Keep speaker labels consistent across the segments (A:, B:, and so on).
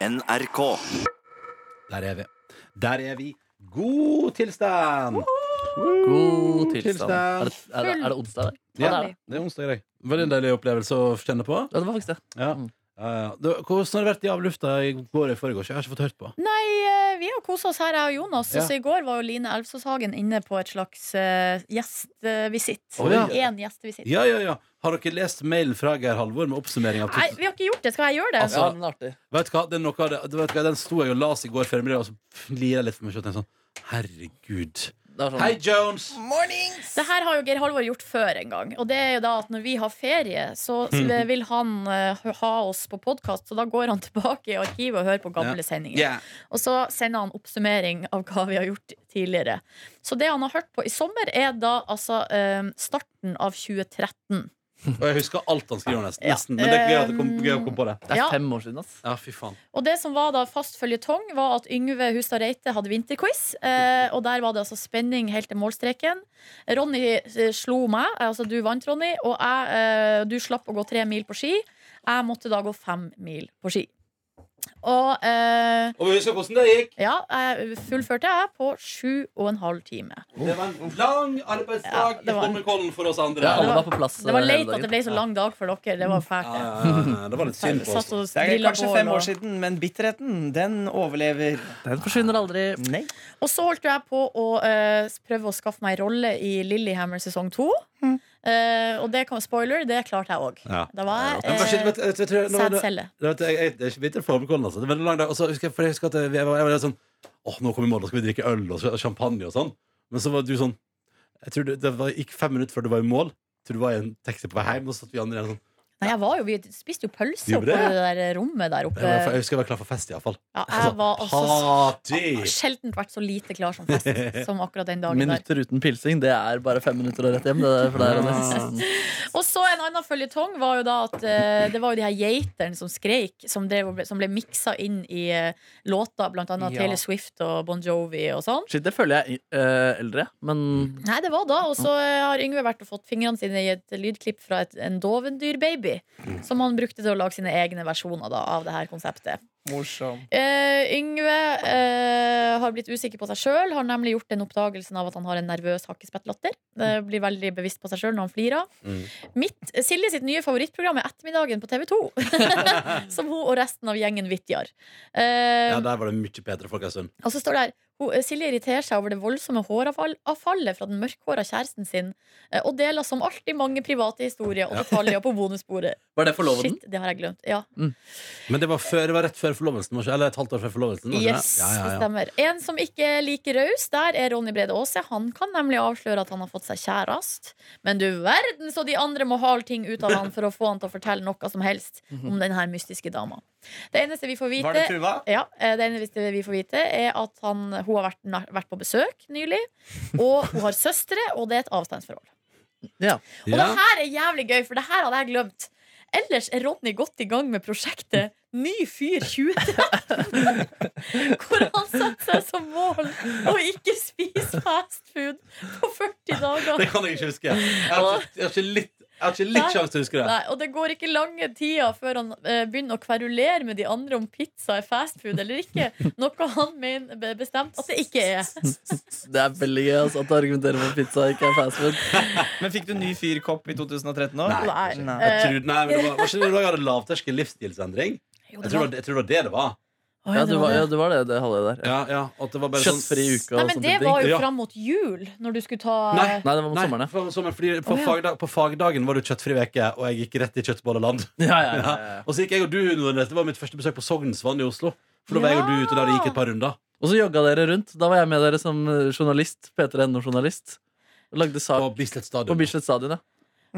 A: NRK.
B: Der er vi. Der er vi. God tilstand!
C: God
B: tilstand.
C: tilstand. Er det, er det, er det onsdag i dag?
B: Ja,
C: det er det.
B: det er onsdag i dag. Veldig deilig opplevelse å kjenne på.
C: Ja, det var faktisk det.
B: Ja.
C: Mm.
B: Ja, ja. Du, hvordan har det vært i avlufta i går og i forgårs? Jeg har ikke fått hørt på.
D: Nei, eh, vi har kosa oss her, jeg og Jonas.
B: Ja.
D: Så i går var jo Line Elvsåshagen inne på et slags eh, gjestvisitt.
B: Å, ja.
D: Én gjestevisitt.
B: Ja, ja, ja. Har dere lest mailen fra Geir Halvor med oppsummering av
D: Nei,
B: tips?
D: vi har ikke gjort det. Skal jeg gjøre det?
C: Altså, ja, men det er artig.
B: Vet du hva, det er noe av det, du vet hva, Den sto jeg og las i går før jeg ble, og så lirer jeg litt for meg selv og tenkte sånn Herregud.
C: Det er sånn,
B: Hei, Jones!
D: Det her har jo Geir Halvor gjort før en gang. Og det er jo da at når vi har ferie, så
B: Hmm.
D: vil han eh, ha oss på podkast. Så da går han tilbake i arkivet og hører på gamle sendinger.
B: Yeah.
D: Og så sender han oppsummering av hva vi har gjort tidligere. Så det han har hørt på i sommer, er da altså eh, starten av 2013.
B: Og jeg husker alt han skriver, nesten.
D: Ja.
B: nesten. Men det er gøy at det kom, gøy å komme på det.
C: Det er
D: Ja.
C: fem år siden, ass.
B: Ja, fy faen.
D: Og det som var da fast føljetong, var at Yngve Hustad Reite hadde vinterquiz. Eh, og der var det altså spenning helt til målstreken. Ronny eh, slo meg, eh, altså du vant, Ronny, og jeg, eh, du slapp å gå tre mil på ski. Jeg måtte da gå fem mil på ski. Og eh,
B: Og vi husker hvordan det gikk.
D: ja, jeg fullførte jeg på sju og en halv time.
B: Det var en lang arbeidsdag
D: Ja, det var-
B: i Holmenkollen for oss andre.
C: Ja, alle
D: det
C: var
D: var-
C: på plass.
D: Det var
C: eh,
D: leit
C: hele
D: at det
C: dagen.
D: ble så lang dag for dere. Det var fælt.
B: Ja,
D: det.
B: ja, ja, ja. Det var litt synd på oss.
D: Satt og
E: Det er
D: grilla
E: kanskje
D: bål
E: fem
D: og-
E: år siden, men bitterheten, den overlever.
C: Den forsvinner aldri.
E: Nei.
D: Og så holdt jo jeg på å eh, prøve å skaffe meg en rolle i Lillehammer sesong to. Eh, og det kan spoiler, det klarte jeg òg.
B: Ja.
D: Da var
B: Men kanskje-
D: jeg eh,
B: vet- vet- vet- vet- nå- nå-
D: sædcelle.
B: Det vet jeg, jeg, jeg er ikke bitter for Holmenkollen, altså. Det var en lang dag. Og så husker jeg, for jeg husker at jeg, jeg, var, jeg var litt sånn Åh, nå kommer målet, skal vi drikke øl og sj- champagne og sånn. Men så var du sånn Jeg tror det, det var, gikk fem minutter før du var i mål. Jeg tror du var i en taxi på vei hjem, og så satt vi andre igjen sånn.
D: Nei, jeg var jo, vi spiste jo pølser
B: Gjorde
D: oppe
B: det?
D: i det der rommet der
B: Jeg,
D: oppe.
B: var, jeg husker jeg var klar for fest, iallfall.
D: Ja, jeg var altså s-
B: Party!
D: sjelden vært så lite klar som fest som akkurat den dagen der.
C: Minutter uten pilsing, det er bare fem minutter og rett hjem. Det er for deg, Ronny.
D: Og så en annen føljetong var jo da at eh, det var jo de her geitene som skreik, som, drev, og ble- som ble miksa inn i eh, låter, blant annet
E: Ja.
D: Taylor Swift og Bon Jovi og sånn.
C: Shit, det føler jeg eh, eldre, men
D: Nei, det var da. Og så eh, har Yngve vært og fått fingrene sine i et lydklipp fra et, en dovendyrbaby. Som han brukte til å lage sine egne versjoner da, av det her konseptet.
E: Morsom.
D: Eh, Yngve eh, har blitt usikker på seg sjøl. Har nemlig gjort den oppdagelsen av at han har en nervøs hakkespettlatter. Eh, blir veldig bevisst på seg sjøl når han flirer. Mitt, Silje sitt nye favorittprogram er Ettermiddagen på TV 2. som hun og resten av gjengen vitjar. Eh,
B: Ja, der var det mye bedre folk en stund.
D: og så står det her hun, eh, Silje irriterer seg over det voldsomme håravfallet fra den mørkhåra kjæresten sin, eh, og deler som alltid mange private historier og detaljer på bonusbordet.
C: Var det forloveden?
D: Shit, det har jeg glemt. Ja.
B: Men det var, før, det var rett før forlovelsen, var ikke- eller et halvt år før forlovelsen. var ikke det?
D: Yes, det stemmer. En som ikke er like raus, der er Ronny Brede Aase. Han kan nemlig avsløre at han har fått seg kjæreste. Men du verden så de andre må hale ting ut av han for å få han til å fortelle noe som helst om den her mystiske dama. Det eneste vi får vite
E: Var det Tuva?
D: Ja, eh, Det eneste vi får vite, er at han, hun har vært, na- vært på besøk nylig. Og hun har søstre, og det er et avstandsforhold.
C: Ja.
D: Og det her er jævlig gøy, for det her hadde jeg glemt. Ellers er Ronny godt i gang med prosjektet Ny fyr 2013. Hvor han satte seg som mål å ikke spise fast food på 40 dager.
B: Det kan jeg ikke huske. Jeg har ikke, jeg har ikke litt, jeg har ikke litt
D: Nei.
B: sjanse til å huske det.
D: Nei, og det går ikke lange tida før han eh, begynner å kverulere med de andre om pizza er fast food eller ikke. Noe han mener be- bestemt at det ikke er.
C: Det er veldig gøy altså, at du argumenterer for pizza ikke er fast food.
E: Men fikk du ny fyrkopp i 2013 òg?
B: Nei.
D: Nei.
B: Jeg tror, nei, men det var, var ikke det da jeg hadde lavterskel livsstilsendring?
D: Jo,
B: Jeg
D: det
B: tror,
D: var-
B: det- jeg tror det var det det var.
D: Å,
C: Ja,
D: ja,
C: du
D: det var
C: var, ja,
D: det.
C: du var det det halvåret der. Ja.
B: Ja, ja, at det var bare sånn
C: Kjøttfri uke og
D: Nei, men
C: sånne
D: det
C: ting.
D: var
B: Ja.
D: jo fram mot jul, når du skulle ta
B: Nei.
C: Nei, det var mot
B: Nei,
C: sommeren, ja.
B: på sommeren, fordi på,
D: Å, ja.
B: fagda, på fagdagen var det jo kjøttfri uke, og jeg gikk rett i kjøttbolleland.
C: Ja, ja, ja,
B: Ja.
C: ja.
B: Og så gikk jeg og du Nordnes, Det var mitt første besøk på Sognsvann i Oslo. For da var jeg og du ute der og gikk et par runder.
C: Og så jogga dere rundt. Da var jeg med dere som eh, journalist. P3NO-journalist. Og lagde sak
B: På Bislett
C: på
B: Stadion.
C: Bislett Stadion, ja.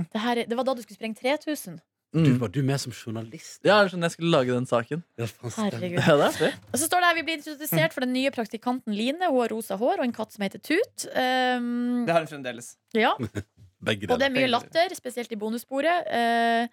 D: Det, her, er- det var da du skulle sprenge 3000.
B: Du,
C: Mm.
B: var du med som journalist?
C: Ja, skjønner, jeg skulle lage den saken.
B: Ja, faen, stemmer.
D: Herregud.
C: Ja, det er artig.
D: Og så står det her vi blir introdusert for den nye praktikanten Line. Hun har rosa hår og en katt som heter Tut. Um,
E: Det har hun fremdeles.
D: ja.
B: Begge
D: Og det
B: deler.
D: er mye latter, spesielt i bonussporet. Eh,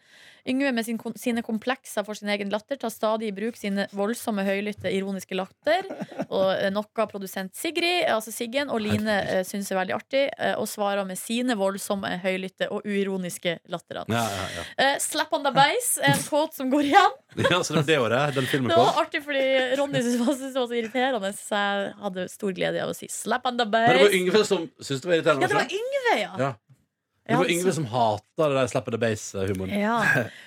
D: Yngve med sin, kon- sine komplekser for sin egen latter tar stadig i bruk sine voldsomme, høylytte, ironiske latter. Og eh, noe av produsent Sigrid, eh, altså Siggen, og Line eh, syns er veldig artig, eh, og svarer med sine voldsomme, høylytte og uironiske latterene.
B: Ja, ja, ja.
D: Eh, Slap on the base er en kåt som går igjen.
B: ja, så det var det året den filmen
D: Det
B: kom.
D: var artig fordi Ronny syntes det var- syntes det var så irriterende, så jeg hadde stor glede av å si slap on the
B: Men det var
D: base.
B: Yngve som syntes det var irriterende.
D: Ja, det var Yngve, ja.
B: Ja. Det var
D: Ja,
B: Yngve
D: så-
B: som hata det der slapp the base-humoren.
D: Ja.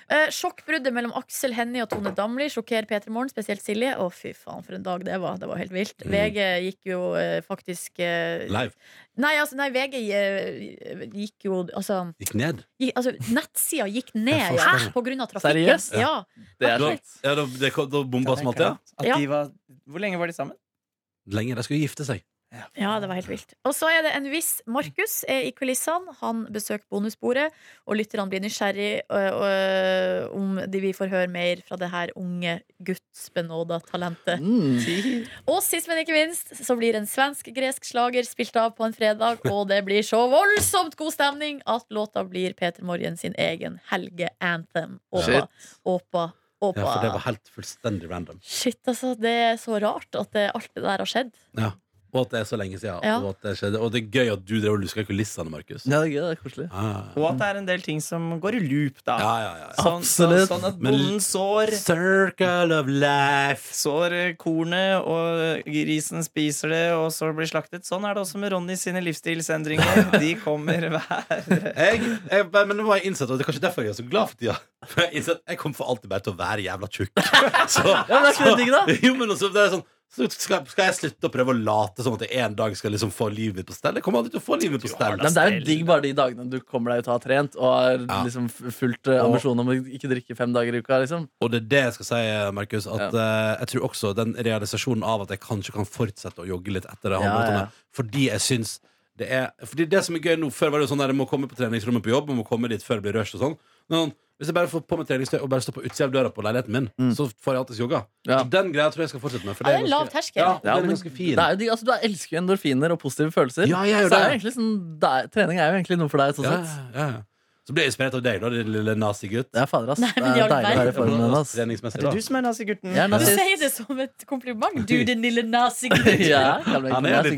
D: Eh, sjokkbruddet mellom Aksel Hennie og Tone Damli sjokkerer P3 Morgen, spesielt Silje. Å, fy faen, for en dag det var. Det var helt vilt.
B: Mm.
D: VG gikk jo eh, faktisk eh,
B: Live.
D: Nei, altså, nei, VG eh, gikk jo Altså,
B: Gikk ned.
D: gikk, altså nettsida gikk ned
B: forstår
D: ja,
B: det.
D: på grunn av trafikken.
C: Seriøst?
D: Ja.
C: Det er
B: Da,
C: sant.
B: ja, da, det, kom- da bomba som alltid. Ja.
E: At
D: Ja.
E: de var, hvor lenge var de sammen?
B: Lenge. De skulle gifte seg.
D: Ja, det var helt vilt. Og så er det en viss Markus er i kulissene. Han besøker bonusbordet, og lytterne blir nysgjerrig ø, ø, om de vi får høre mer fra det her unge gudsbenåda talentet.
C: Mm.
D: Og sist, men ikke minst, så blir en svensk-gresk slager spilt av på en fredag, og det blir så voldsomt god stemning at låta blir Peter Morgen sin egen helge-anthem. Åpa,
C: Shit.
D: åpa, åpa.
B: Ja, for det var helt fullstendig random.
D: Shit, altså. Det er så rart at det, alt det der har skjedd.
B: Ja. Og at det er så lenge siden.
D: Ja.
B: Og, at det skjedde. og det er gøy at du drev og luska i kulissene, Markus.
C: Ja, det er gøy. Det er koselig.
B: Ah.
E: Og at det er en del ting som går i loop, da.
B: Ja, ja, ja.
E: Sånn, sånn,
C: Absolutt.
E: sånn at
B: Men-
E: bonden sår,
B: Circle of life.
E: sår eh, kornet, og grisen spiser det, og så blir slaktet. Sånn er det også med Ronny sine livsstilsendringer. De kommer hver
B: Jeg, jeg, men nå har jeg innsett, og det er kanskje derfor jeg er så glad for tida. For jeg, har innsett, jeg kommer for alltid bare til å være jævla tjukk. Så,
C: Ja, men det er ikke det digg, da?
B: jo, men også, det er sånn så skal, skal jeg slutte å prøve å late som at jeg en dag skal liksom få livet mitt på stell? Jeg kommer aldri til å få livet mitt på stell.
C: Nei, men det er jo digg bare de dagene du kommer deg ut og har trent og har
B: Ja.
C: liksom f- fulgt eh,
B: Og-
C: ambisjonen om å ikke drikke fem dager i uka. liksom
B: Og det er det jeg skal si, Markus. At eh, jeg tror også den realisasjonen av at jeg kanskje kan fortsette å jogge litt etter det
C: Ja,
B: halvmaratonet,
C: ja.
B: fordi jeg syns det er Fordi det som er gøy nå Før var det jo sånn der jeg må komme på treningsrommet på jobb, jeg må komme dit før det blir rush og sånn. Men hvis jeg bare får på meg treningstøy og bare står på utsida av døra på leiligheten min, så får jeg alltid jogga.
C: Mm. Ja.
B: Så Den greia tror jeg jeg skal fortsette med. For
D: Ja, det er
B: ganske-
D: lav terskel.
B: Ja,
C: Ja,
B: den
C: men
B: er ganske fin.
C: Det er jo digg, altså Du elsker jo endorfiner og positive følelser.
B: Ja, jeg gjør
C: så er jo
B: det.
C: egentlig sånn, det er, trening er jo egentlig noe for deg. sånn
B: ja,
C: sett
B: ja, ja. Så ble jeg inspirert av deg, da, din lille nazigutt.
C: Det er fader, ass.
D: Nei, men
C: det
D: i
C: er
D: all
C: deilig å være i
B: Ja,
C: formen ass.
B: Treningsmessig,
E: Er det
B: da.
E: du som er nazigutten?
C: Jeg er
D: Du
C: nazist.
D: sier det som et kompliment. Du, din lille nazi-gutt.
C: Ja, jævla
B: Han er litt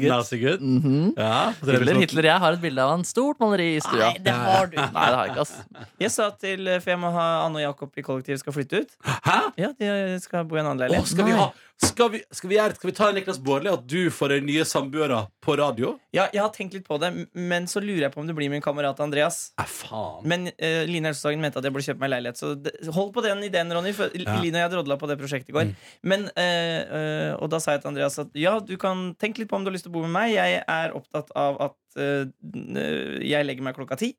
B: nazigutt.
C: nazigut. Mhm.
B: Ja, så det er
C: Hitler,
B: liksom-
C: Hitler, jeg har et bilde av han. Stort maleri i stua.
D: Nei, det har du.
C: Nei, det har jeg ikke, ass.
E: Jeg sa til eh, For jeg må ha Anne og Jakob i kollektiv skal flytte ut.
B: Hæ?
E: Ja, de eh, skal bo i en annen
B: Å,
E: leilighet.
B: skal, vi ha, skal, vi, skal, vi gjøre, skal vi ta en Niklas Bårdli at du får deg nye samboere på radio?
E: Ja, jeg har tenkt litt på det, m- men så lurer jeg på om det blir min kamerat Andreas.
B: Nei, faen.
E: Men eh, Line Elsesagen mente at jeg burde kjøpe meg leilighet, så det, hold på den ideen, Ronny. For
B: Ja.
E: Line og jeg drodla på det prosjektet i går. Men, eh, eh, og da sa jeg til Andreas at ja, du kan tenke litt på om du har lyst til å bo med meg. Jeg er opptatt av at eh, n- eh, jeg legger meg klokka ti.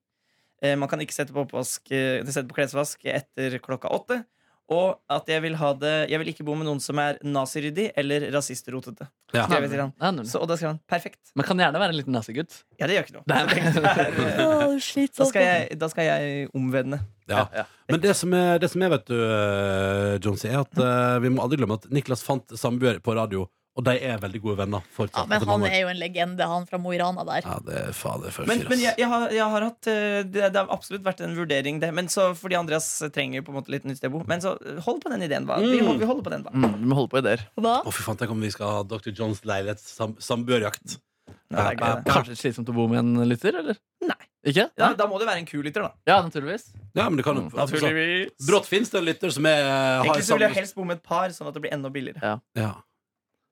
E: Eh, man kan ikke sette på, oppvask, eh, sette på klesvask etter klokka åtte. Og at jeg vil, ha det, jeg vil ikke bo med noen som er naziryddig eller rasistrotete.
B: Ja.
E: Skrev jeg til han.
C: Nei, nei, nei.
E: Mm. Så, og da skrev han perfekt.
C: Man kan gjerne være en liten nazigut.
E: Ja, det gjør ikke noe.
C: Nei, men-
E: Da
D: Å, slitsomt.
E: skal jeg, da skal jeg omvende.
B: Ja. Men det som er, det som er vet du, eh, Jonesy, er at eh, vi må aldri glemme at Niklas fant samboer på radio, og de er veldig gode venner. Fortsatt,
D: Ja, men
B: etter
D: han
B: mange år.
D: er jo en legende, han fra Mo i Rana der.
B: Ja, det er fader for
E: Men,
B: fyr,
E: men jeg,
B: ass.
E: jeg, har, jeg har hatt eh, det, det har absolutt vært en vurdering, det. Men så, fordi Andreas trenger på en måte litt nytt sted å bo. Men så eh, hold på den ideen, hva. Vi, hold- vi holder på den, da.
C: Mm, vi må holde på ideer.
D: Hva?
B: Å, fy faen, tenk om vi skal ha Dr. Johns leilighet-samboerjakt.
E: Ja, det er gøy, det.
C: Kanskje slitsomt å bo med en lytter, eller?
E: Nei.
C: Ikke?
E: Ja, da må det være en kul lytter, da.
C: Ja, naturligvis.
B: Ja, men det kan jo
C: Mm,
B: altså, Brått fins det en lytter som er, eh, har
E: Egentlig så vil jeg
B: samboer-
E: helst bo med et par, sånn at det blir enda billigere.
B: ja.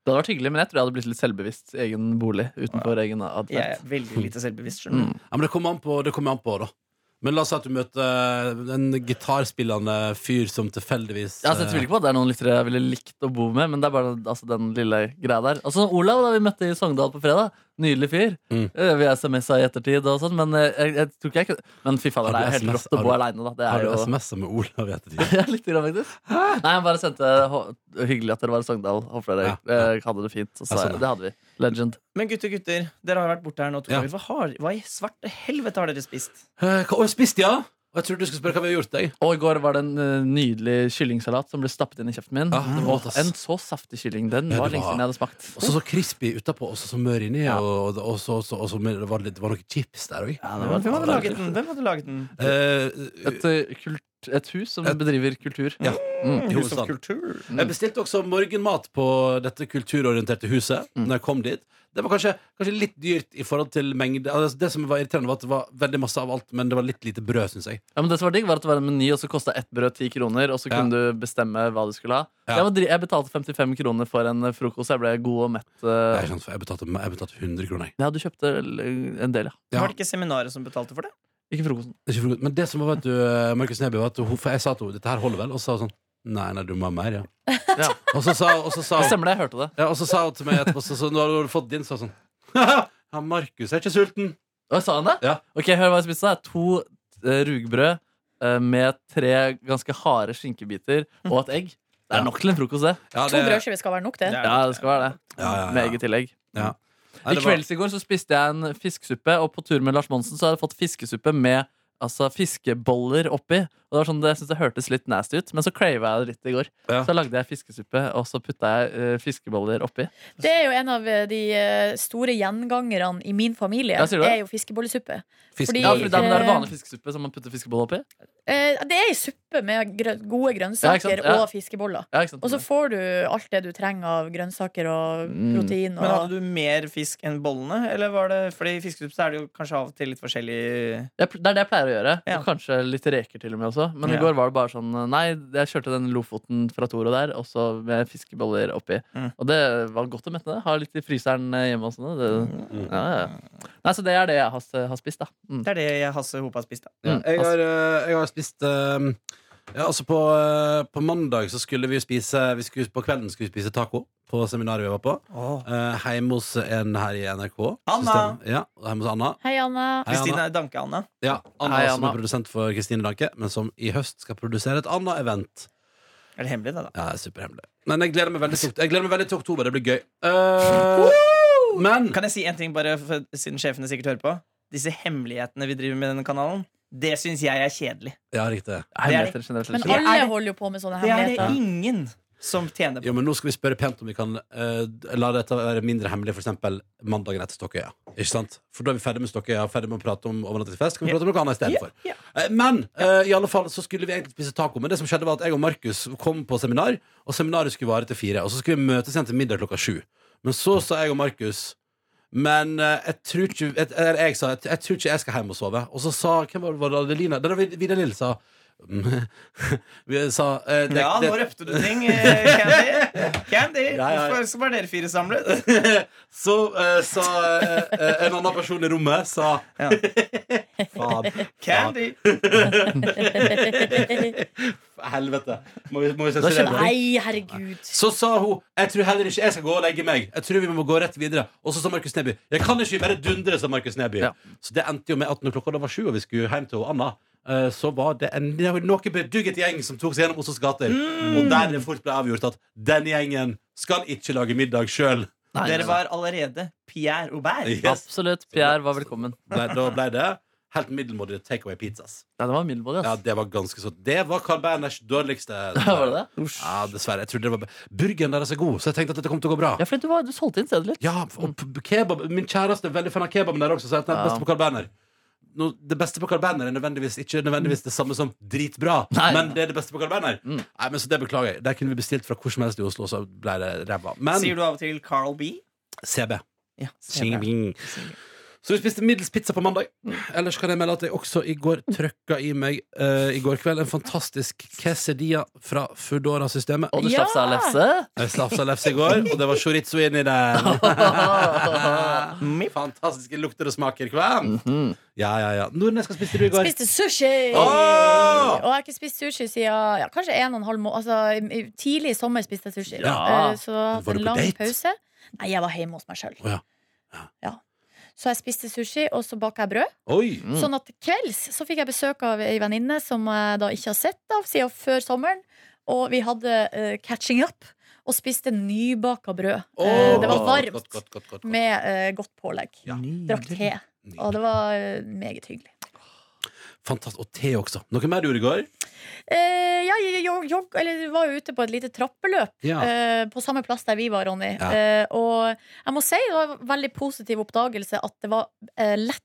C: Det hadde vært hyggelig, men jeg tror jeg hadde blitt litt selvbevisst i egen bolig. utenfor egen advent.
E: Jeg er veldig lite selvbevisst, skjønner du.
B: ja, men det kommer an på, det kommer an på da. Men la oss si at du møter eh, en gitarspillende fyr som tilfeldigvis eh,
C: Ja, altså, jeg tviler ikke på at det er noen lyttere jeg ville likt å bo med, men det er bare altså, den lille greia der. Altså, Olav, da vi møtte i Sogndal på fredag, nydelig fyr.
B: Mm.
C: Eh, Vi SMS-a i ettertid og sånn, men eh, jeg, jeg tror ikke jeg kunne Men fy fader, det
B: Har du
C: er jo helt
B: SMS?
C: rått å bo
B: Har du-
C: aleine, da. Det
B: Har
C: er
B: du
C: jo
B: SMS-er med Olav i ettertid?
C: ja, litt grann, faktisk. Nei, jeg bare sendte hå- Hyggelig at dere var i Sogndal. Håper dere eh, hadde det fint. Og så,
B: Ja, sånn, ja.
C: det hadde vi. Legend.
E: Men gutter, gutter, dere har jo vært borte her nå to
B: Ja.
E: år. Hva, har, hva i svarte helvete har dere spist?
B: Eh, Hva har jeg spist, ja? Og jeg trodde du skulle spørre hva vi har gjort, jeg.
C: Og i går var det en eh, nydelig kyllingsalat som ble stappet inn i kjeften min.
B: Ah, det var godt,
C: og
B: ass.
C: en så saftig kylling. Den
B: Ja,
C: var
B: det
C: lenge
B: var-
C: siden jeg hadde smakt.
B: Og så så crispy utapå, og så så mør inni,
C: Ja.
B: og, og, så, og, så, og så men det var litt- det var noen chips der òg.
C: Ja, det
E: Hvem
C: var
E: hadde laget den? Hvem hadde laget den?
C: et, eh, kult, et hus som
B: Et-
C: bedriver kultur.
B: Ja.
C: Mm.
B: I
E: Hus of
B: hovedstaden.
E: Kultur.
B: Jeg bestilte også morgenmat på dette kulturorienterte huset.
C: Mm.
B: Når jeg kom dit Det var kanskje, kanskje litt dyrt i forhold til mengde. Altså, det som var irriterende, var at det var veldig masse av alt, men det var litt lite brød, syns jeg.
C: Ja, men det som var digg, var at det var en meny, og så kosta ett brød ti kroner. Og så
B: Ja.
C: kunne du bestemme hva du skulle ha.
B: Ja.
C: Jeg, var dri jeg betalte 55 kroner for en eh, frokost. Jeg ble god og mett. eh.
B: Jeg, skjønte, for jeg, betalte, jeg betalte 100 kroner. jeg.
C: Ja, du kjøpte l- en del, ja.
B: Ja.
E: Var det ikke seminaret som betalte for det?
C: Ikke frokosten.
B: Det er ikke for godt. Men det som var, vet du, Markus Neby, var at hun, for jeg sa til henne dette her holder vel, og så sa hun sånn Nei, nei, du må ha mer, ja.
C: Ja.
B: Og så sa, og så sa
C: Det
B: hun
C: stemmer det, jeg hørte det.
B: ja, Og så sa hun til meg etterpå så, så, Nå har du fått din, sa hun sånn. Ja, Markus er ikke sulten.
C: Og sa han det?
B: Ja.
C: Ok, hør hva jeg spiste. da. To eh, rugbrød eh, med tre ganske harde skinkebiter og et egg. Det
B: Mm. Ja.
C: er nok til en frokost, det.
B: Ja,
D: To brødskiver skal være nok, det.
E: Ja.
C: Ja, det skal være det.
B: Ja, ja, ja.
C: Med eget tillegg.
B: Ja. Nei,
C: I
B: det var-
C: kvelds i går så spiste jeg en fiskesuppe, og på tur med Lars Monsen så har jeg fått fiskesuppe med altså, fiskeboller oppi. Og Det var sånn, det- jeg synes det hørtes litt nasty ut, men så crava jeg det litt i går.
B: Ja.
C: Så lagde jeg fiskesuppe, og så putta jeg eh, fiskeboller oppi.
D: Det er jo en av de eh, store gjengangerne i min familie.
C: Ja, sier du det?
D: er jo fiskebollesuppe.
B: Fisk-
D: fordi-
C: Ja, for da, men da er det
D: eh,
C: vanlig fiskesuppe som man putter fiskeboller oppi?
D: Eh, det er ei suppe med grø gode
C: Ja, ikke sant?
D: grønnsaker
C: Ja.
D: og fiskeboller.
C: Ja, ikke sant?
D: Og så får du alt det du trenger av grønnsaker og
C: Mm.
D: protein. Og
E: Men hadde du mer fisk enn bollene? Eller var det, fordi i fiskesuppe så er det jo kanskje av og til litt forskjellig
C: Jeg pl- det er det jeg pleier å gjøre.
E: Ja.
C: Og kanskje litt reker til og med også. Men
E: Ja.
C: i går var det bare sånn Nei, jeg kjørte den Lofoten fra Toro der, også med fiskeboller oppi.
E: Mm.
C: Og det var godt å mette det. Har litt i fryseren eh, hjemme og sånn. Det, ja, ja. Nei, så det er det jeg har, s- har spist, da. Mm.
E: Mm. Det er det jeg Hasse Hope har spist, da.
B: Ja,
C: Mm,
B: jeg,
C: altså.
B: har, eh, jeg har spist eh, ja, altså på, eh, på mandag så skulle vi spise vi skulle, På kvelden skulle vi spise taco på seminaret vi var på. Eh, Hjemme hos en her i NRK.
E: Anna.
B: System- Ja, hjemme hos Anna.
D: Hei, Anna.
B: Hei, Anna.
E: Kristina Danke-Anna.
B: Ja, Anna,
C: Hei,
B: som
C: Anna.
B: er produsent for Kristine Danke, men som i høst skal produsere et annet event.
E: Er det hemmelig, det, da?
B: Ja, det er superhemmelig. Men jeg gleder meg veldig til, jeg gleder meg veldig til oktober. Det blir gøy. Eh, men
E: Kan jeg si en ting, bare for, siden sjefene sikkert hører på? Disse hemmelighetene vi driver med i denne kanalen, det syns jeg er kjedelig.
B: Ja, riktig.
C: Hemmeligheter generelt. sett.
D: Men
E: Det er
D: alle
E: det-
D: holder jo på med sånne
E: Det er det
D: hemmeligheter.
E: ingen som tjener på.
B: Jo, men nå skal vi spørre pent om vi kan eh, la dette være mindre hemmelig, for eksempel mandagen etter Stokkøya. Ikke sant? For da er vi ferdig med Stokkøya, ferdig med å prate om overnattingsfest. Kan vi
E: Ja.
B: prate om noe annet i stedet
E: Ja,
B: for?
E: ja.
B: Eh, Men eh, i alle fall så skulle vi egentlig spise taco. Men det som skjedde var at jeg og Markus kom på seminar, og seminaret skulle vare til fire. Og så skulle vi møtes igjen til middag klokka sju. Men så sa jeg og Markus men eh, jeg tror ikke jeg, eller jeg, sa, jeg, jeg tror ikke jeg skal hjem og sove. Og så sa hvem var det, var det Adelina? Det var Vidar Lill sa Vi sa eh, det,
E: Ja,
B: det,
E: nå røpte du ting, eh, Candy. Candy,
B: Ja, ja, ja.
E: hvorfor så var dere fire samlet?
B: Så eh, sa eh, eh, en annen person i rommet sa
E: Ja.
B: Faen.
E: Candy!
B: Helvete. Må vi, må vi
C: Da
B: sensurere det?
D: Nei, herregud.
B: Så sa hun Jeg tror heller ikke jeg skal gå og legge meg. Jeg tror vi må gå rett videre Og så sa Markus Neby Jeg kan ikke bare dundre, sa Markus Neby.
C: Ja.
B: Så det endte jo med at når klokka da var sju, og vi skulle hjem til hun Anna, eh, så var det en noe bedugget gjeng som tok seg gjennom Oslos gater.
C: Mm.
B: Og der det fort ble avgjort at den gjengen skal ikke lage middag sjøl.
C: Nei,
E: Dere
C: nei, nei.
E: var allerede Pierre Aubert.
B: Yes.
C: Absolutt. Pierre var velkommen.
B: Ble- Da ble det helt middelmådige takeaway-pizzas.
C: Nei, det var middelmådig,
B: Ja,
C: ass.
B: det var ganske så Det var Carl Berners dårligste.
C: Var det det?
B: Ja, dessverre. Jeg trodde det var Burgeren deres er god, så jeg tenkte at dette kom til å gå bra.
C: Ja, fordi du, var, du solgte inn stedet litt.
B: Ja, og p- kebab Min kjæreste er veldig fan av kebaben der også, så jeg tenkte
C: Ja.
B: det beste på Carl Berner. Nå, det beste på Carl Berner er nødvendigvis ikke nødvendigvis det samme som dritbra,
C: Nei.
B: men det er det beste på Carl Berner. Nei, men så det beklager jeg. Der kunne vi bestilt fra hvor som helst i Oslo, så ble det ræva. Men
E: Sier du av og til Carl B?
B: CB.
E: Ja,
B: Sing, bing. Så vi spiste middels pizza på mandag. Ellers kan jeg melde at jeg også i går trøkka i meg eh, i går kveld en fantastisk quesadilla fra Foodora-systemet.
C: Og du
D: Ja!
C: slapp seg av lefse.
B: Jeg slafsa lefse i går, og det var chorizo inni den.
E: Mipp.
B: Fantastiske lukter og smaker, kvam.
C: Mhm.
B: Ja, ja, ja. Nordnes, hva spiste du i går?
D: Spiste sushi!
B: Åh!
D: Og jeg har ikke spist sushi siden ja, kanskje en og en halv måned. Altså, i- i- tidlig i sommer spiste jeg sushi.
C: Ja.
D: Eh, Så jeg har hatt
B: Var du på
D: en lang
B: date?
D: pause. Nei, jeg var hjemme hos meg sjøl.
B: Å, ja.
D: Så jeg spiste sushi, og så baka jeg brød.
B: Oi!
C: Mm.
D: Sånn at til kvelds så fikk jeg besøk av ei venninne som jeg da ikke har sett av siden før sommeren. Og vi hadde eh, catching up og spiste nybaka brød. Eh, det var
B: Åh,
D: varmt
B: Godt, godt, godt, godt, godt.
D: med eh, godt pålegg.
B: Ja.
D: Drakk te. Og det var eh, meget hyggelig.
B: Fantastisk. Og te også. Noe mer du gjorde i går?
D: Eh, ja, jeg, jeg, jeg, eller, var jo ute på et lite trappeløp
B: Ja.
D: eh, på samme plass der vi var, Ronny.
B: Ja.
D: Eh, og jeg må si det var en veldig positiv oppdagelse at det var eh, lettere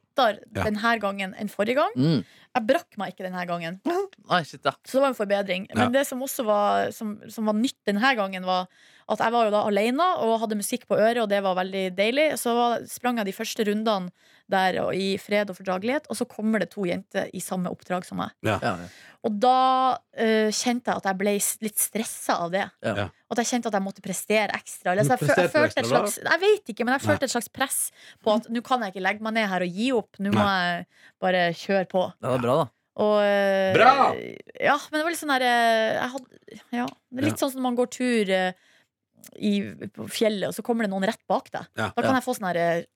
B: Ja.
D: denne gangen enn forrige gang.
C: Mm.
D: Jeg brakk meg ikke denne gangen,
C: Nei, shit, ja.
D: så det var en forbedring.
B: Ja.
D: Men det som også var, som, som var nytt denne gangen, var at jeg var jo da alene og hadde musikk på øret, og det var veldig deilig. Så var, sprang jeg de første rundene der og i fred og fordragelighet, og så kommer det to jenter i samme oppdrag som meg.
C: Ja, ja.
D: Og da eh, kjente jeg at jeg ble s- litt stressa av det.
C: Ja.
B: Ja.
D: At jeg kjente at jeg måtte prestere ekstra. Eller,
B: Men
D: så jeg, fø-
B: presterte du
D: jeg, følte et
B: ekstra da?
D: slags, jeg vet ikke, men jeg
B: Nei.
D: følte et slags press på at nå kan jeg ikke legge meg ned her og gi opp. Nå må jeg bare kjøre på.
C: Det er bra, da.
D: Og, eh,
B: Bra!
D: Ja, men det var litt sånn der eh, jeg hadde, ja, det er Litt sånn som når man går tur eh, i, på fjellet, og så kommer det noen rett bak deg.
B: Ja.
D: Da kan
C: Ja.
D: jeg få sånn herre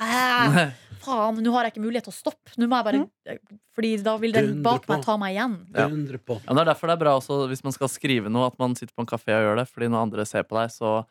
D: Æh, faen, nå har jeg ikke mulighet til å stoppe. Nå må jeg bare Fordi da vil den
B: Mm. Dundre
D: bak
B: på.
D: meg ta meg igjen.
C: Ja.
B: Dundre på.
C: Ja, men det er derfor det er bra også hvis man skal skrive noe, at man sitter på en kafé og gjør det. Fordi når andre ser på deg, så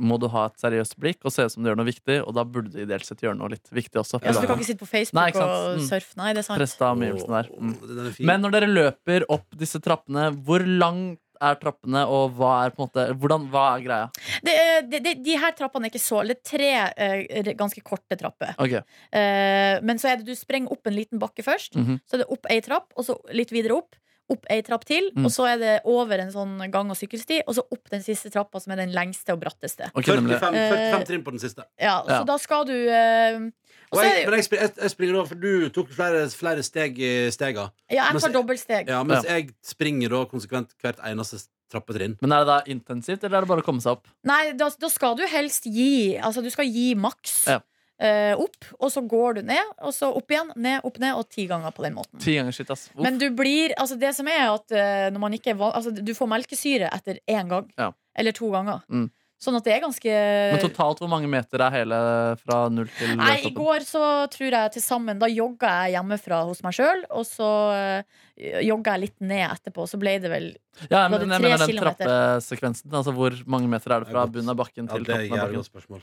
C: må du ha et seriøst blikk og se ut som du gjør noe viktig. Og da burde du ideelt sett gjøre noe litt viktig også.
D: Ja, så Altså, du kan ikke sitte på Facebook
C: Nei, ikke sant.
D: og
C: Mm.
D: surfe? Nei, det er sant.
C: Presta omgivelsene der. Mm.
B: Å, den er fin.
C: Men når dere løper opp disse trappene, hvor langt er trappene, og hva er på en måte hvordan, Hva er greia?
D: Det, er- det, det, de her trappene er ikke så Det er tre eh, ganske korte trapper.
C: Ok,
D: Eh, men så er det du sprenger opp en liten bakke først.
C: Mhm.
D: Så er det opp ei trapp, og så litt videre opp. Opp ei trapp til,
C: Mm.
D: og så er det over en sånn gang- og sykkelsti. Og så opp den siste trappa, som er den lengste og bratteste.
C: Ok, nemlig.
B: 45, 45
D: Eh,
B: trinn på den siste.
D: Ja,
C: Ja.
D: Så da skal du eh, og
B: Og
D: så er
B: jeg,
D: det-
B: men jeg, spri- jeg, jeg springer over, for du tok flere, flere steg i stega.
D: Ja,
B: Men
D: jeg
B: så-
D: tar dobbeltsteg.
B: Ja, mens jeg springer da konsekvent hvert eneste trappetrinn.
C: Men er det da intensivt, eller er det bare å komme seg opp?
D: Nei, da, da skal du helst gi Altså, du skal gi maks
C: Ja.
D: eh, opp, og så går du ned, og så opp igjen, ned, opp ned, og ti ganger på den måten.
C: Ti ganger shit, ass. Uff.
D: Men du blir, altså det som er at eh, når man ikke er van, altså Du får melkesyre etter én gang.
C: Ja.
D: Eller to ganger.
C: Mm.
D: Sånn at det er ganske
C: Men totalt hvor mange meter er hele fra null til
D: Nei, i
C: toppen?
D: går så tror jeg til sammen Da jogga jeg hjemmefra hos meg sjøl, og så uh, jogga jeg litt ned etterpå. Så ble det vel
C: Ja,
D: Var
C: men
D: det
C: jeg
D: tre
C: mener den
D: kilometer?
C: trappesekvensen. Altså hvor mange meter er det fra
B: Det er godt.
C: bunnen av bakken
B: Ja,
C: til
B: det er et
C: toppen av
B: jævlig
C: bakken?
B: godt spørsmål.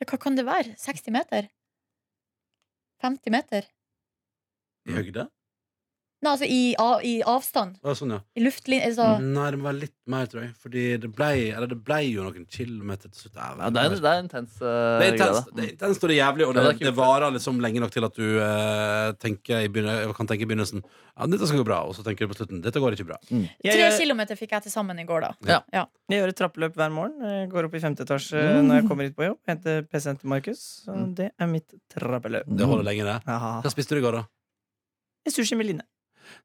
D: ja, Hva kan det være? 60 meter? 50 meter?
B: I høyde?
D: Nei, altså i, av, i avstand.
B: Ja, sånn, ja.
D: I luftlinje altså,
C: Mm.
B: Nei, det må være litt mer, tror jeg. Fordi det ble, eller det ble jo noen kilometer til slutt.
C: Ja, det, er, det er intens. eh,
B: Det er
C: greie, da.
B: intenst, det er intenst og det er jævlig, og det,
C: Ja, det
B: det,
C: er ikke gjort
B: varer liksom lenge nok til at du eh, tenker i begynne- kan tenke i begynnelsen Ja, dette skal gå bra, og så tenker du på slutten dette går ikke bra.
E: Jeg,
D: Tre
E: gjør-
D: kilometer fikk jeg til sammen i går, da.
E: jeg gjør et trappeløp hver morgen. Jeg går opp i femte etasje
B: Mm.
E: når jeg kommer hit på jobb. Jeg heter PC-en til Markus. Så
C: Mm.
E: det er mitt trappeløp.
B: Det holder lenge, det.
E: Aha.
B: Hva spiste du i går, da?
E: Sushi med Line.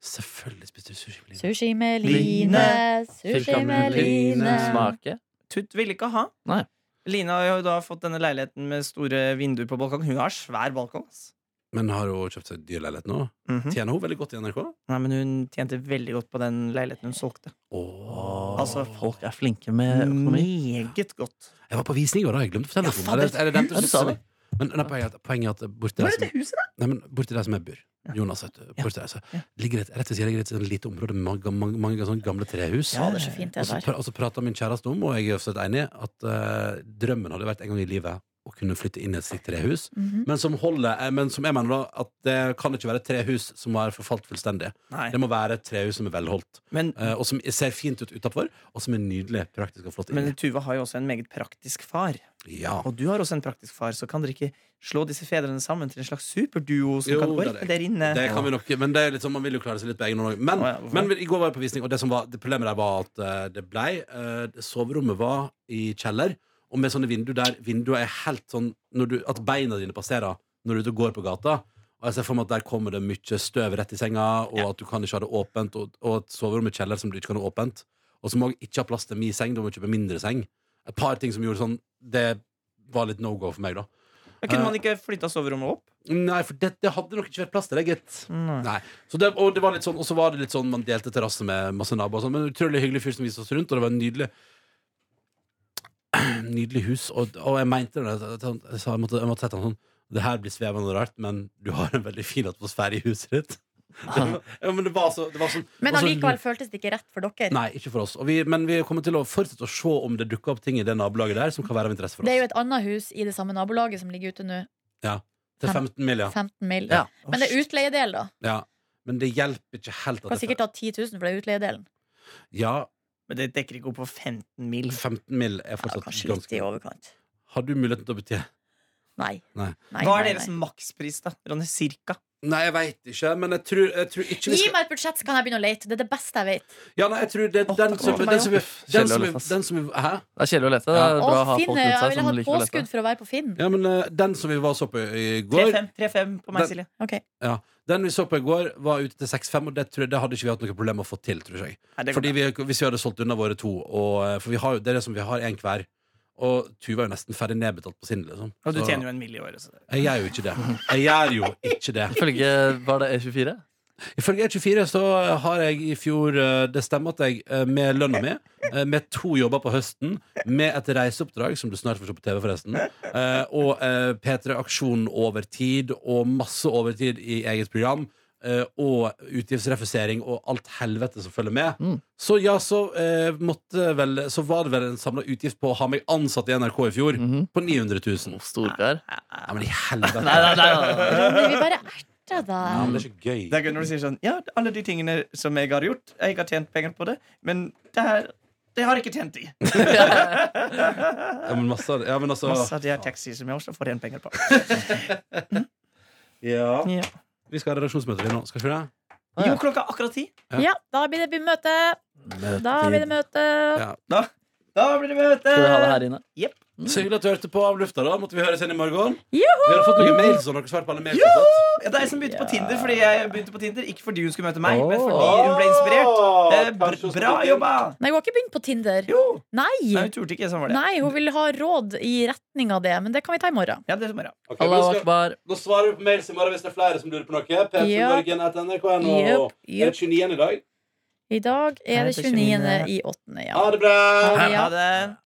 B: Selvfølgelig spiste du sushi. med lin.
D: Sushi med
E: Line.
D: Line,
C: Fikk
D: sushi
C: han
D: med
C: litt
D: Line.
C: Smake.
E: Tut ville ikke ha.
C: Nei.
E: Line har jo da fått denne leiligheten med store vinduer på balkong. Hun har svær balkong. ass.
B: Men har hun kjøpt seg dyr leilighet nå?
E: Mhm.
B: Tjener hun veldig godt i NRK?
E: Nei, men hun tjente veldig godt på den leiligheten hun solgte.
B: Åh.
E: Altså,
C: folk er flinke
B: Eh,
C: med økonomi.
E: Meget godt.
B: Jeg var på visning i går, da. Jeg glemte å
E: Ja,
B: fortelle deg om
E: fader.
B: det. Eller- eller nevnte
C: Ja, du sa
B: sushi. Men nei, poenget, er at- poenget er at borti der, som,
E: huset, da?
B: nei, men borti der som jeg bor
E: Ja.
B: Jonas, vet du.
E: Ja.
B: Borti der, så,
E: Ja.
B: ligger det, et- rett ved siden ligger det et sånn lite område med mange, mange, mange sånne gamle trehus.
D: Ja, det er så fint det
B: Og så
D: der.
B: pra- Og så prata min kjæreste om, og jeg er absolutt enig, at eh, drømmen hadde vært en gang i livet å kunne flytte inn i et slikt trehus.
D: Mhm.
B: Men som holder, eh, men som jeg mener da, at det kan ikke være et trehus som har forfalt fullstendig.
E: Nei.
B: Det må være et trehus som er velholdt,
E: Men,
B: eh, og som ser fint ut utenfor, og som er nydelig, praktisk og flott inni.
E: men Tuva har jo også en meget praktisk far.
B: Ja.
E: Og du har også en praktisk far, så kan dere ikke slå disse fedrene sammen til en slags superduo som
B: Jo,
E: kan
B: det er
E: orke
B: det.
E: der inne?
B: Det kan vi nok, men det er litt sånn, man vil jo klare seg litt på egen hånd. også. Men,
E: Å, ja, hvorfor?
B: men i går var jeg på visning, og det, som var, det problemet der var at eh, det blei eh, det- Soverommet var i kjeller, og med sånne vinduer der vinduet er helt sånn når du, at beina dine passerer når du er ute og går på gata. Og jeg ser for meg at Der kommer det mye støv rett i senga, og at du kan ikke ha det åpent, og, og et soverom i kjeller som du ikke kan ha åpent, og som òg ikke har plass til min seng. Da må du kjøpe mindre seng. Et par ting som gjorde sånn Det var litt no go for meg, da.
E: Men Kunne
C: Eh,
E: man ikke flytta soverommet opp?
B: Nei, for det, det hadde nok ikke vært plass til det, gitt. Nei. Så det, og det var litt sånn, og så var det litt sånn man delte terrasse med masse naboer. og sånn, Men en utrolig hyggelig fyr som viste oss rundt, og det var en nydelig Nydelig hus. Og, og jeg mente det, at- at han- jeg, sa, jeg måtte, jeg måtte sette han sånn Det her blir svevende og rart, men du har en veldig fin atmosfære i huset ditt. ja, men det var, så, det var sånn
D: Men
B: det var så-
D: allikevel føltes det ikke rett for dere.
B: Nei, ikke for oss. Og vi, men vi kommer til å fortsette å se om det dukker opp ting i det nabolaget der som kan være av interesse for
D: Det er jo
B: oss.
D: et annet hus i det samme nabolaget som ligger ute nå.
B: Til 15 mil, ja.
D: 15 mil.
B: Ja.
D: Men det er utleiedel, da.
B: ja. men det hjelper ikke helt.
D: Kan
B: At det,
D: sikkert ta 10 000 for det er utleiedelen.
B: ja,
E: Men det dekker ikke opp på 15 mil.
B: 15 mil er
D: Ja,
B: fortsatt
D: kanskje litt
B: ganske
D: i overkant.
B: Har du muligheten til å betjene?
D: Nei.
B: Nei.
D: Nei,
E: Hva er
D: nei,
E: deres
D: nei.
E: makspris, da? Ronny, cirka?
B: Nei, jeg veit ikke, men jeg tror, jeg tror ikke vi
D: Gi
B: skal
D: meg et budsjett, så kan jeg begynne å lete. Det er det beste jeg vet.
B: Ja, nei, jeg tror det er
D: Åh,
B: den
D: takk
B: som
D: for meg,
B: den som- Den som
C: Kjell Olof,
B: er
C: ass.
B: den som er- Hæ?
C: Det er kjedelig å lete. Det
B: Ja.
C: er
D: Å,
C: bra å ha
D: Finn,
C: folk
D: jeg
C: rundt seg
D: vil
C: som
D: ha et
C: liker å lete.
D: påskudd for å være på Finn.
B: Ja, men eh, den som vi var så på i går
E: 3-5 3-5 på
B: Den-
E: meg, Silje.
D: Ok.
B: Den vi så på i går, var ute til 6-5, og det, tror jeg, det hadde ikke vi hatt noe problem med å få til, tror jeg.
E: Nei, det går
B: Fordi vi, hvis vi hadde solgt unna våre to, og, eh, for vi har, jo- det er det som vi har én hver. Og Tuva er jo nesten ferdig nedbetalt på sin. Liksom.
E: bra. Og du
B: Så-
E: tjener jo en mill. i året. så det-
B: Jeg gjør jo ikke det. Jeg gjør jo ikke det.
C: Ifølge var det E24?
B: Ifølge E24 så har jeg i fjor eh, Det stemmer at jeg eh, med lønna mi, eh, med to jobber på høsten, med et reiseoppdrag, som du snart får se på TV, forresten, eh, og eh, P3 Aksjon over tid, og masse overtid i eget program, eh, og utgiftsrefusering og alt helvete som følger med.
C: Mm.
B: Så ja, så eh, måtte vel Så var det vel en samla utgift på å ha meg ansatt i NRK i fjor,
C: Mhm.
B: på 900 000.
C: Storkar.
B: Ja, men i helvete.
C: Nei, nei, nei, nei.
D: Ronny, vi bare erter
B: Ja,
D: deg.
B: men det er ikke gøy.
E: Det er gøy når du sier sånn Ja, alle de tingene som jeg har gjort Jeg har tjent penger på det, men det her det har jeg ikke tjent i.
B: Ja, men masse, av det- ja, men altså
E: Masse av de her taxier som jeg også får igjen penger på.
B: Ja.
E: Ja.
B: Vi skal ha redaksjonsmøte nå. Skal vi ikke det?
E: Jo, klokka er akkurat ti.
D: Ja, da blir det møte. Da blir det møte.
B: Ja.
E: Da, da blir det møte!
C: Skal vi ha det her inne?
B: Så hyggelig at du hørte på av lufta, da. Måtte vi høres igjen i morgen?
D: Joho!
B: Vi har fått noen mails og noe svar på alle mails. vi har fått.
E: Ja, det er jeg som begynte på Tinder, fordi jeg begynte på Tinder ikke fordi hun skulle møte meg, men fordi
C: Åh.
E: hun ble inspirert. Eh, br bra jobba!
D: Nei, hun har ikke begynt på Tinder.
E: Jo! Nei,
D: Nei.
E: hun turte ikke, sånn var det.
D: Nei, hun vil ha råd i retning av det, men det kan vi ta i morgen.
E: Ja, det er så bra.
B: Ok, men
C: Allah
B: skal-
C: akbar.
B: Da svarer vi på mails i morgen hvis det er flere som lurer på noe. p3morgen.nrk.no.
D: Jep,
B: Er det
D: jep.
B: 29. i dag?
D: I dag er eh. det 29. i åttende, ja.
B: Ha det bra!
D: Ha det, ja.
E: Ha det.